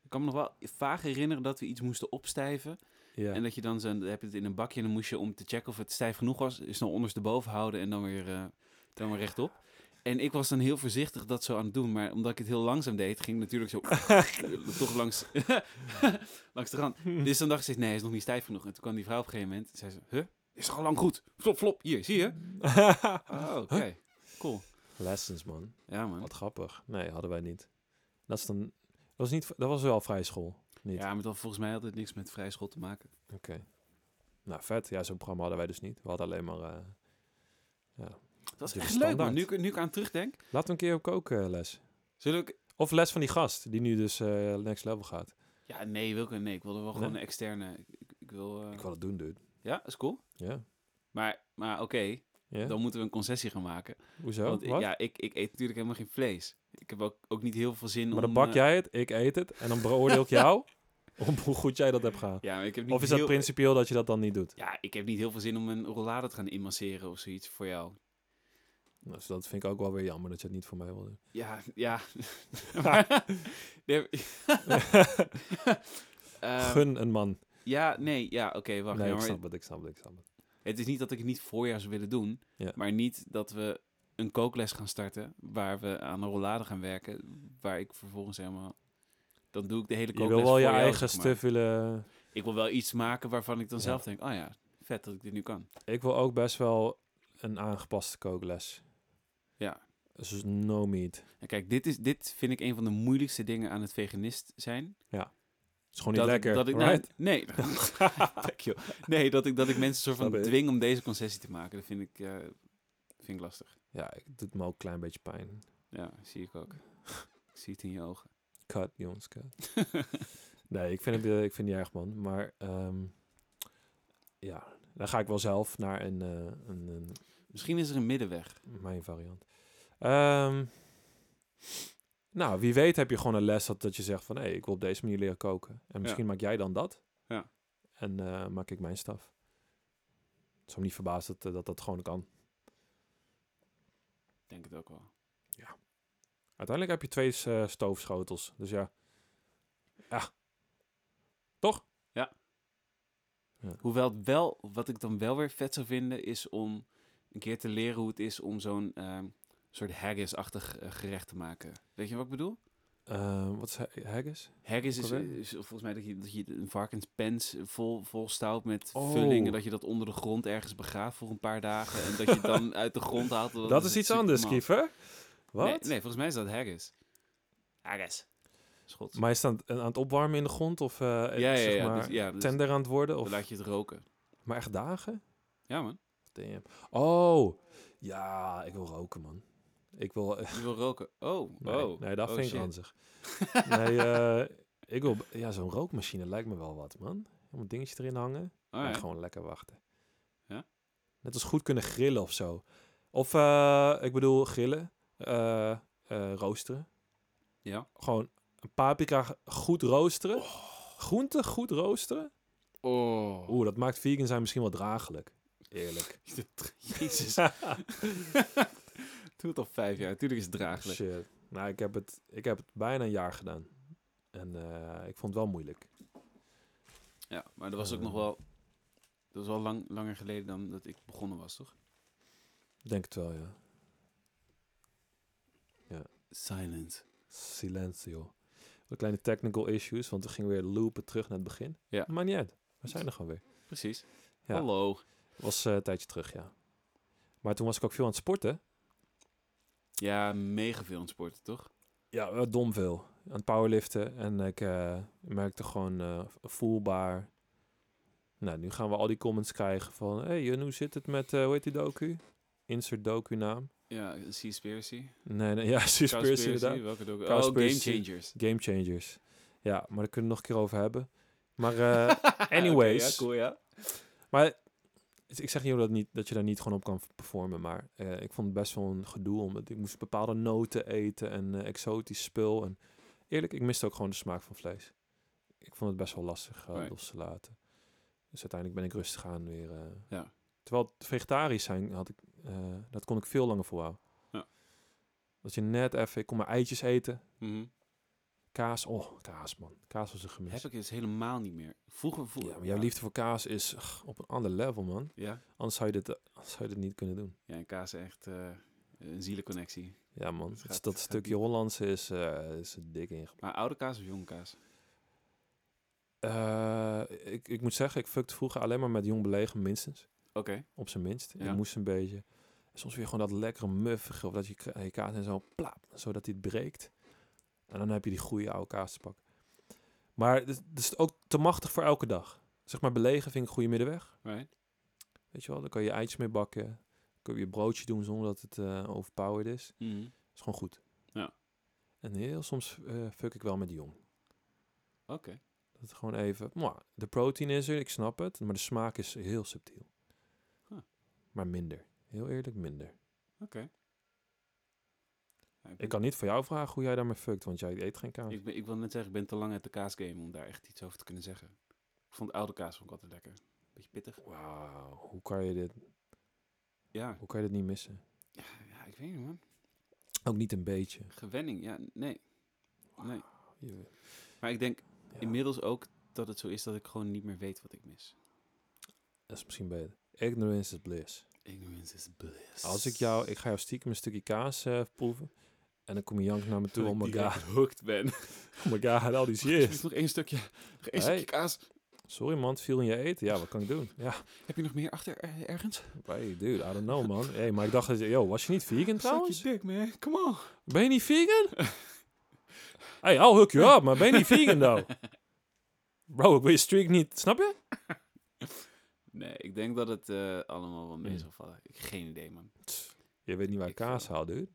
S2: Ik kan me nog wel vaag herinneren dat we iets moesten opstijven.
S1: ja.
S2: En dat je dan, zo, dan heb je het in een bakje en dan moest je om te checken of het stijf genoeg was, snel ondersteboven houden en dan weer, eh dan weer rechtop. En ik was dan heel voorzichtig dat zo aan het doen. Maar omdat ik het heel langzaam deed, ging het natuurlijk zo toch langs, langs de rand. Dus dan dacht ik, nee, hij is nog niet stijf genoeg. En toen kwam die vrouw op een gegeven moment en zei ze, huh? Is al lang goed. Flop, flop, hier, zie je? Oh, oké. Cool.
S1: Lessons, man.
S2: Ja, man.
S1: Wat grappig. Nee, hadden wij niet. Dat, is dan, dat, was, niet, dat was wel vrij school. Niet.
S2: Ja, maar dat volgens mij had het niks met vrij school te maken.
S1: Nou, vet. Ja, zo'n programma hadden wij dus niet. We hadden alleen maar... eh,
S2: Dat was
S1: Dit
S2: echt
S1: is
S2: leuk, man.
S1: standaard.
S2: Nu, ik- nu ik aan terugdenk.
S1: Laten we een keer op koken eh, les.
S2: Zullen we... ook-
S1: Of les van die gast, die nu dus eh, next level gaat.
S2: Ja, nee, wil ik Nee, ik wilde wel gewoon
S1: Nee?
S2: een externe... Ik, ik- ik wil... eh,
S1: Ik wil dat doen, dude.
S2: Ja, is cool.
S1: Ja.
S2: Maar, maar oké,
S1: Ja?
S2: dan moeten we een concessie gaan maken.
S1: Hoezo?
S2: Want ik,
S1: Wat?
S2: ja, ik, ik eet natuurlijk helemaal geen vlees. Ik heb ook, ook niet heel veel zin
S1: maar
S2: om...
S1: dan bak
S2: eh,
S1: jij het, ik eet het. En dan beoordeel ik jou om hoe goed jij dat hebt gedaan.
S2: Ja, maar ik heb niet
S1: Of is dat
S2: heel-
S1: principieel dat je dat dan niet doet?
S2: Ja, ik heb niet heel veel zin om een rollade te gaan inmasseren of zoiets voor jou.
S1: Nou, dus dat vind ik ook wel weer jammer dat je het niet voor mij wil doen.
S2: Ja, ja. Maar- Nee, ehm,
S1: Gun een man.
S2: ja, nee, ja, oké, wacht.
S1: nee,
S2: ja,
S1: ik
S2: maar
S1: snap het, ik snap het, ik snap het.
S2: het is niet dat ik het niet voor jou zou willen doen,
S1: Ja.
S2: maar niet dat we een kookles gaan starten waar we aan een rollade gaan werken, waar ik vervolgens helemaal... Dan doe ik de hele
S1: Je
S2: kookles
S1: wil wel
S2: voor
S1: je
S2: jou,
S1: eigen
S2: zeg maar.
S1: stuf willen...
S2: Ik wil wel iets maken waarvan ik dan
S1: Ja.
S2: zelf denk, oh ja, vet dat ik dit nu kan.
S1: Ik wil ook best wel een aangepaste kookles.
S2: Ja.
S1: Dus no meat. Het
S2: En kijk, dit, is, dit vind ik een van de moeilijkste dingen aan het veganist zijn.
S1: is gewoon niet lekker,
S2: Ik, dat ik, nou,
S1: right?
S2: nee, Fuck, joh. nee, dat ik, dat ik mensen soort van
S1: Snap ik.
S2: dwing om deze concessie te maken, dat vind ik, eh, vind ik lastig.
S1: Ja, het doet me ook een klein beetje pijn.
S2: Ja, zie ik ook. ik zie het in je ogen.
S1: Cut, jongens, cut. nee, ik vind het eh, ik vind het niet erg, man. Maar ehm, ja, dan ga ik wel zelf naar een, eh, een, een
S2: Misschien is er een middenweg.
S1: Mijn variant. Ehm, nou, wie weet heb je gewoon een les dat, dat je zegt van... hé, ik wil op deze manier leren koken. En misschien maak jij dan dat.
S2: Ja.
S1: En eh, maak ik mijn staf. Het is me niet verbaasd dat, eh, dat dat gewoon kan.
S2: Ik Denk het ook wel.
S1: Uiteindelijk heb je twee eh, stoofschotels. Dus ja. Ja. Toch?
S2: Hoewel het wel, wat ik dan wel weer vet zou vinden, is om een keer te leren hoe het is om zo'n ehm, soort haggis-achtig eh, gerecht te maken. Weet je wat ik bedoel?
S1: Ehm, wat is ha- haggis?
S2: Haggis is,
S1: Ook alweer?
S2: is volgens mij dat je, dat je een varkenspens vol, vol stout met
S1: Oh.
S2: vullingen, dat je dat onder de grond ergens begraaft voor een paar dagen en dat je het dan uit de grond haalt.
S1: Dat, is iets anders,
S2: Kief.
S1: Kiefer. Wat?
S2: Nee, nee, volgens mij is dat haggis. Haggis. Schot.
S1: Maar is het aan, het- aan het opwarmen in de grond? Of eh,
S2: ja, ja,
S1: zeg
S2: ja.
S1: maar
S2: dus- ja dus
S1: tender aan het worden?
S2: dan
S1: Of,
S2: laat je het roken.
S1: maar echt dagen?
S2: Ja, man.
S1: Damn. Oh, ja, ik wil roken, man. Ik wil... eh,
S2: Je wil roken. Oh,
S1: Nee,
S2: oh.
S1: nee dat
S2: oh,
S1: vind ik
S2: shit.
S1: ranzig. nee, eh, ik wil... Ja, zo'n rookmachine lijkt me wel wat, man. Om een dingetje erin hangen
S2: Oh,
S1: en
S2: ja.
S1: gewoon lekker wachten.
S2: Ja?
S1: Net als goed kunnen grillen of zo. Of, eh, ik bedoel, grillen. eh, eh, roosteren.
S2: Ja.
S1: Gewoon een paprika g- goed roosteren. Groenten goed roosteren.
S2: Oh.
S1: Oeh, dat maakt vegan zijn misschien wel draaglijk. Eerlijk.
S2: Jezus. Doe het al vijf jaar. Tuurlijk is het draaglijk.
S1: Shit. Nou, ik heb het, ik heb het bijna een jaar gedaan. En eh, ik vond het wel moeilijk.
S2: Ja, maar dat was ook nog
S1: Eh.
S2: wel... Dat was wel lang, langer geleden dan dat ik begonnen was, toch?
S1: Ik Denk het wel, ja.
S2: Silent.
S1: Silencio. Wat kleine technical issues, want we gingen weer loopen terug naar het begin.
S2: Ja.
S1: Maar niet uit. We zijn er gewoon weer.
S2: Precies.
S1: Ja.
S2: Hallo.
S1: Was eh, een tijdje terug, ja. Maar toen was ik ook veel aan het sporten.
S2: Ja, mega veel aan sporten, toch?
S1: Ja, wel dom veel. Aan het powerliften. En ik eh, merkte gewoon eh, voelbaar. Nou, nu gaan we al die comments krijgen van... hey, Jun, hoe zit het met... eh, hoe heet die docu? Insert docu naam.
S2: Ja, Seaspiracy.
S1: Nee, nee, ja, Seaspiracy inderdaad.
S2: Welke docu? Oh, Game
S1: Cowspiracy.
S2: Changers.
S1: Game Changers. Ja, maar daar kunnen we het nog een keer over hebben. Maar eh, anyways.
S2: Oké, ja, cool, ja.
S1: Maar het- ik zeg niet dat, niet dat je daar niet gewoon op kan performen, maar eh, ik vond het best wel een gedoe. Omdat ik moest bepaalde noten eten en eh, exotisch spul. En eerlijk, ik miste ook gewoon de smaak van vlees. Ik vond het best wel lastig eh,
S2: Right.
S1: los te laten. Dus uiteindelijk ben ik rustig aan weer. eh,
S2: Ja.
S1: Terwijl het vegetarisch zijn, had ik, eh, dat kon ik veel langer volhouden.
S2: Ja.
S1: Dat je net even, ik kon maar eitjes eten.
S2: Mhm.
S1: Kaas, oh, kaas man. Kaas was een gemis.
S2: Heb ik het helemaal niet meer. Vroeger, vroeger.
S1: ja, maar jouw liefde voor kaas is ugh, op een ander level, man.
S2: Ja,
S1: Anders zou je dit, eh, anders zou je dit niet kunnen doen.
S2: ja en kaas is echt eh, een zielenconnectie.
S1: Ja, man.
S2: Het
S1: Dat,
S2: Dus gaat-
S1: dat
S2: het gaat
S1: stukje
S2: diep.
S1: Hollandse is, eh is er dik in.
S2: Maar oude kaas of jonge kaas?
S1: Eh, ik, ik moet zeggen, ik fuckte vroeger alleen maar met jong belegen, minstens.
S2: Oké.
S1: Op zijn minst. Je
S2: Ja.
S1: moest een beetje. Soms weer gewoon dat lekkere muffige, of dat je, k- je kaas en zo plaap, zodat hij het breekt. En dan heb je die goede oude kaas te pakken. Maar het is- het is ook te machtig voor elke dag. Zeg maar belegen vind ik een goede middenweg.
S2: Right.
S1: Weet je wel, dan kan je eitjes mee bakken. Kun je je broodje doen zonder dat het eh, overpowered is.
S2: Mhm.
S1: is gewoon goed.
S2: Ja.
S1: En heel soms eh, fuck ik wel met jong.
S2: Oké.
S1: Dat het gewoon even... mwah, de protein is er, ik snap het. Maar de smaak is heel subtiel.
S2: Huh.
S1: Maar minder. Heel eerlijk, minder.
S2: Ja,
S1: Ik
S2: ben-
S1: kan niet voor jou vragen hoe jij daarmee fuckt, want jij eet geen kaas.
S2: Ik, ben, ik wil net zeggen, ik ben te lang uit de kaasgame om daar echt iets over te kunnen zeggen. Ik vond oude kaas vond ik altijd lekker. Beetje pittig.
S1: Wauw, hoe kan, je dit,
S2: Ja,
S1: hoe kan je dit niet missen?
S2: ja, ja, ik weet niet man.
S1: Ook niet een beetje.
S2: Gewenning, ja, nee. Nee.
S1: Je-
S2: Maar ik denk
S1: ja,
S2: inmiddels ook dat het zo is dat ik gewoon niet meer weet wat ik mis.
S1: Dat is misschien beter. Ignorance is bliss.
S2: Ignorance is bliss.
S1: Als ik jou... Ik ga jou stiekem een stukje kaas eh, proeven. En dan kom je jank naar me toe. Oh
S2: toen
S1: my god.
S2: hooked ben.
S1: Oh my god, al die
S2: Er
S1: shit.
S2: is nog één stukje. Nog één
S1: Hey.
S2: stukje kaas.
S1: Sorry man, het viel in je eten. Ja, wat kan ik doen? Ja.
S2: Heb je nog meer achter er- ergens?
S1: Hey, dude, I don't know, man. Hey, maar ik dacht, dat je- yo, was je niet vegan trouwens?
S2: Zak je dik, man. Come on.
S1: Ben je niet vegan? hey, I'll hook you up, maar ben je niet vegan, though? Bro, ik wil je streak niet, snap je?
S2: Nee, ik denk dat het eh, allemaal wel mee
S1: Hmm.
S2: zal vallen. Ik, geen idee, man.
S1: Je weet niet waar
S2: Ik
S1: kaas
S2: veel.
S1: haalt, dude.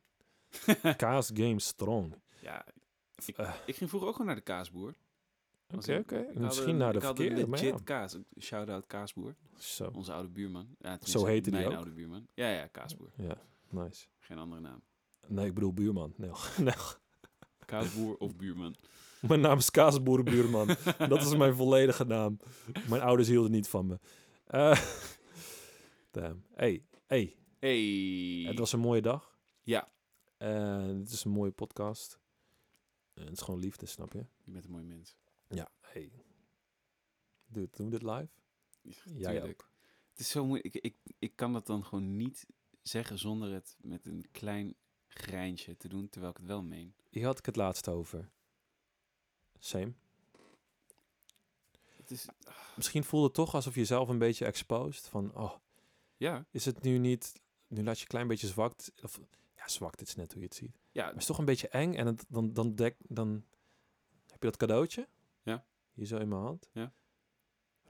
S1: Kaas game strong.
S2: ja, ik,
S1: Eh.
S2: ik ging vroeger ook gewoon naar de kaasboer. Als
S1: Oké,
S2: in-
S1: oké.
S2: ik had
S1: Misschien
S2: een-
S1: naar de
S2: ik had een
S1: verkeerde, maar
S2: legit
S1: ja.
S2: kaas. Shout-out kaasboer.
S1: Zo,
S2: Onze oude buurman. Ja, tenminste,
S1: Zo heette die
S2: Mijn
S1: ook.
S2: oude buurman. Ja, ja, kaasboer.
S1: ja, nice.
S2: Geen andere naam.
S1: Nee, ik bedoel buurman. Nee,
S2: Kaasboer of buurman.
S1: mijn naam is Kaasboerenbuurman. Dat is mijn volledige naam. Mijn ouders hielden niet van me. Eh damn. Hey, hey.
S2: Hey.
S1: Het was een mooie dag.
S2: Ja.
S1: En het is een mooie podcast. En het is gewoon liefde, snap je?
S2: Je bent een mooi mens.
S1: Ja. Hey. Dude, doen we dit live? Jij
S2: tuurlijk.
S1: ook.
S2: Het is zo moeilijk. Ik, ik, ik kan dat dan gewoon niet zeggen zonder het met een klein grijntje te doen, terwijl ik het wel meen.
S1: Hier had ik het laatst over. Same.
S2: Het is,
S1: Misschien voelde het toch alsof je zelf een beetje exposed. Van, oh,
S2: ja,
S1: is het nu niet... Nu laat je een klein beetje zwakt... Of, ja, zwakt, dit is net hoe je het ziet.
S2: ja,
S1: Maar het is toch een beetje eng. En het, dan, dan, dek, dan heb je dat cadeautje.
S2: Ja.
S1: Hier zo in mijn hand.
S2: Ja.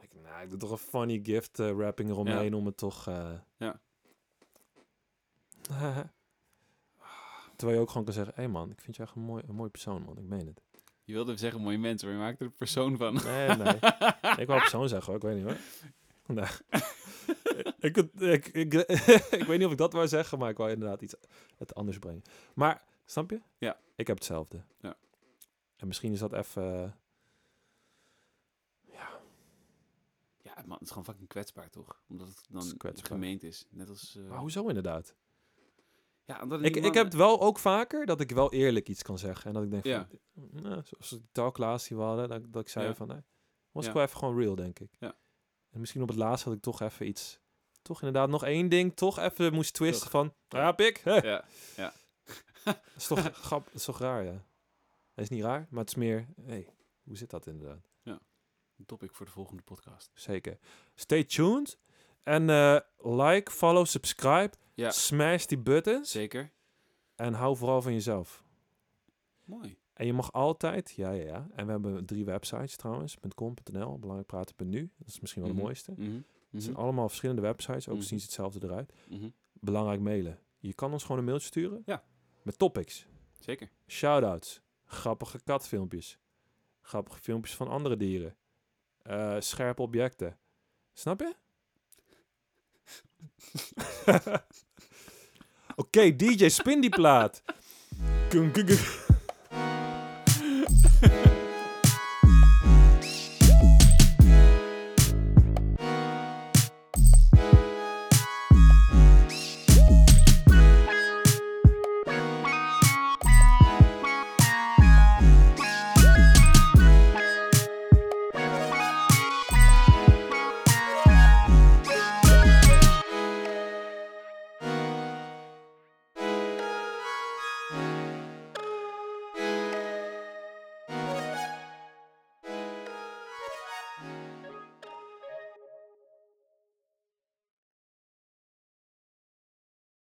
S1: Ik, denk, nou, ik doe toch een funny gift eh, wrapping eromheen om het toch... eh,
S2: Ja.
S1: Terwijl je ook gewoon kan zeggen... Hé hey man, ik vind je echt een mooi, een mooi persoon man. Ik meen het.
S2: je wilde zeggen mooi mens, maar je maakt er een persoon van.
S1: Nee, nee. ik wou persoon zeggen hoor. Ik weet niet hoor. Nee. ik, ik, ik, ik, ik weet niet of ik dat wou zeggen, maar ik wou inderdaad iets het anders brengen. Maar, snap je?
S2: Ja.
S1: Ik heb hetzelfde.
S2: Ja.
S1: En misschien is dat even... eh, ja,
S2: Ja, man, het is gewoon fucking kwetsbaar, toch? Omdat het dan
S1: Het is kwetsbaar.
S2: gemeend is. Net als... eh,
S1: maar hoezo inderdaad?
S2: ja, omdat
S1: Ik,
S2: die
S1: ik
S2: man-
S1: heb het wel ook vaker dat ik wel eerlijk iets kan zeggen. En dat ik denk van...
S2: Ja.
S1: Nou, zoals die talklaas die we hadden, dat, dat ik zei
S2: Ja.
S1: van... Nee, was
S2: Ja.
S1: ik wel even gewoon real, denk ik.
S2: Ja.
S1: En misschien op het laatst had ik toch even iets... Toch inderdaad nog één ding, toch even moest twisten van... Ja, pik, hè.
S2: Ja,
S1: Dat is toch grap, dat is toch raar, ja. Hij is niet raar, maar het is meer... hey, hoe zit dat inderdaad?
S2: een topic voor de volgende podcast.
S1: Zeker. Stay tuned. En eh, like, follow, subscribe.
S2: Ja.
S1: Smash die buttons.
S2: Zeker.
S1: En hou vooral van jezelf.
S2: Mooi.
S1: En je mag altijd, ja, ja, ja. En we hebben drie websites trouwens. .com, .nl, belangrijkpraten.nu. Dat is misschien wel
S2: Mhm.
S1: de mooiste.
S2: Mhm.
S1: Het zijn
S2: Mhm.
S1: allemaal verschillende websites, ook
S2: Mhm.
S1: zien ze hetzelfde eruit.
S2: Mhm.
S1: Belangrijk mailen. Je kan ons gewoon een mailtje sturen.
S2: Ja.
S1: Met topics,
S2: Zeker.
S1: shoutouts, grappige katfilmpjes, grappige filmpjes van andere dieren, eh, scherpe objecten. Snap je? Oké, DJ, spin die plaat. Kun, kun, kun.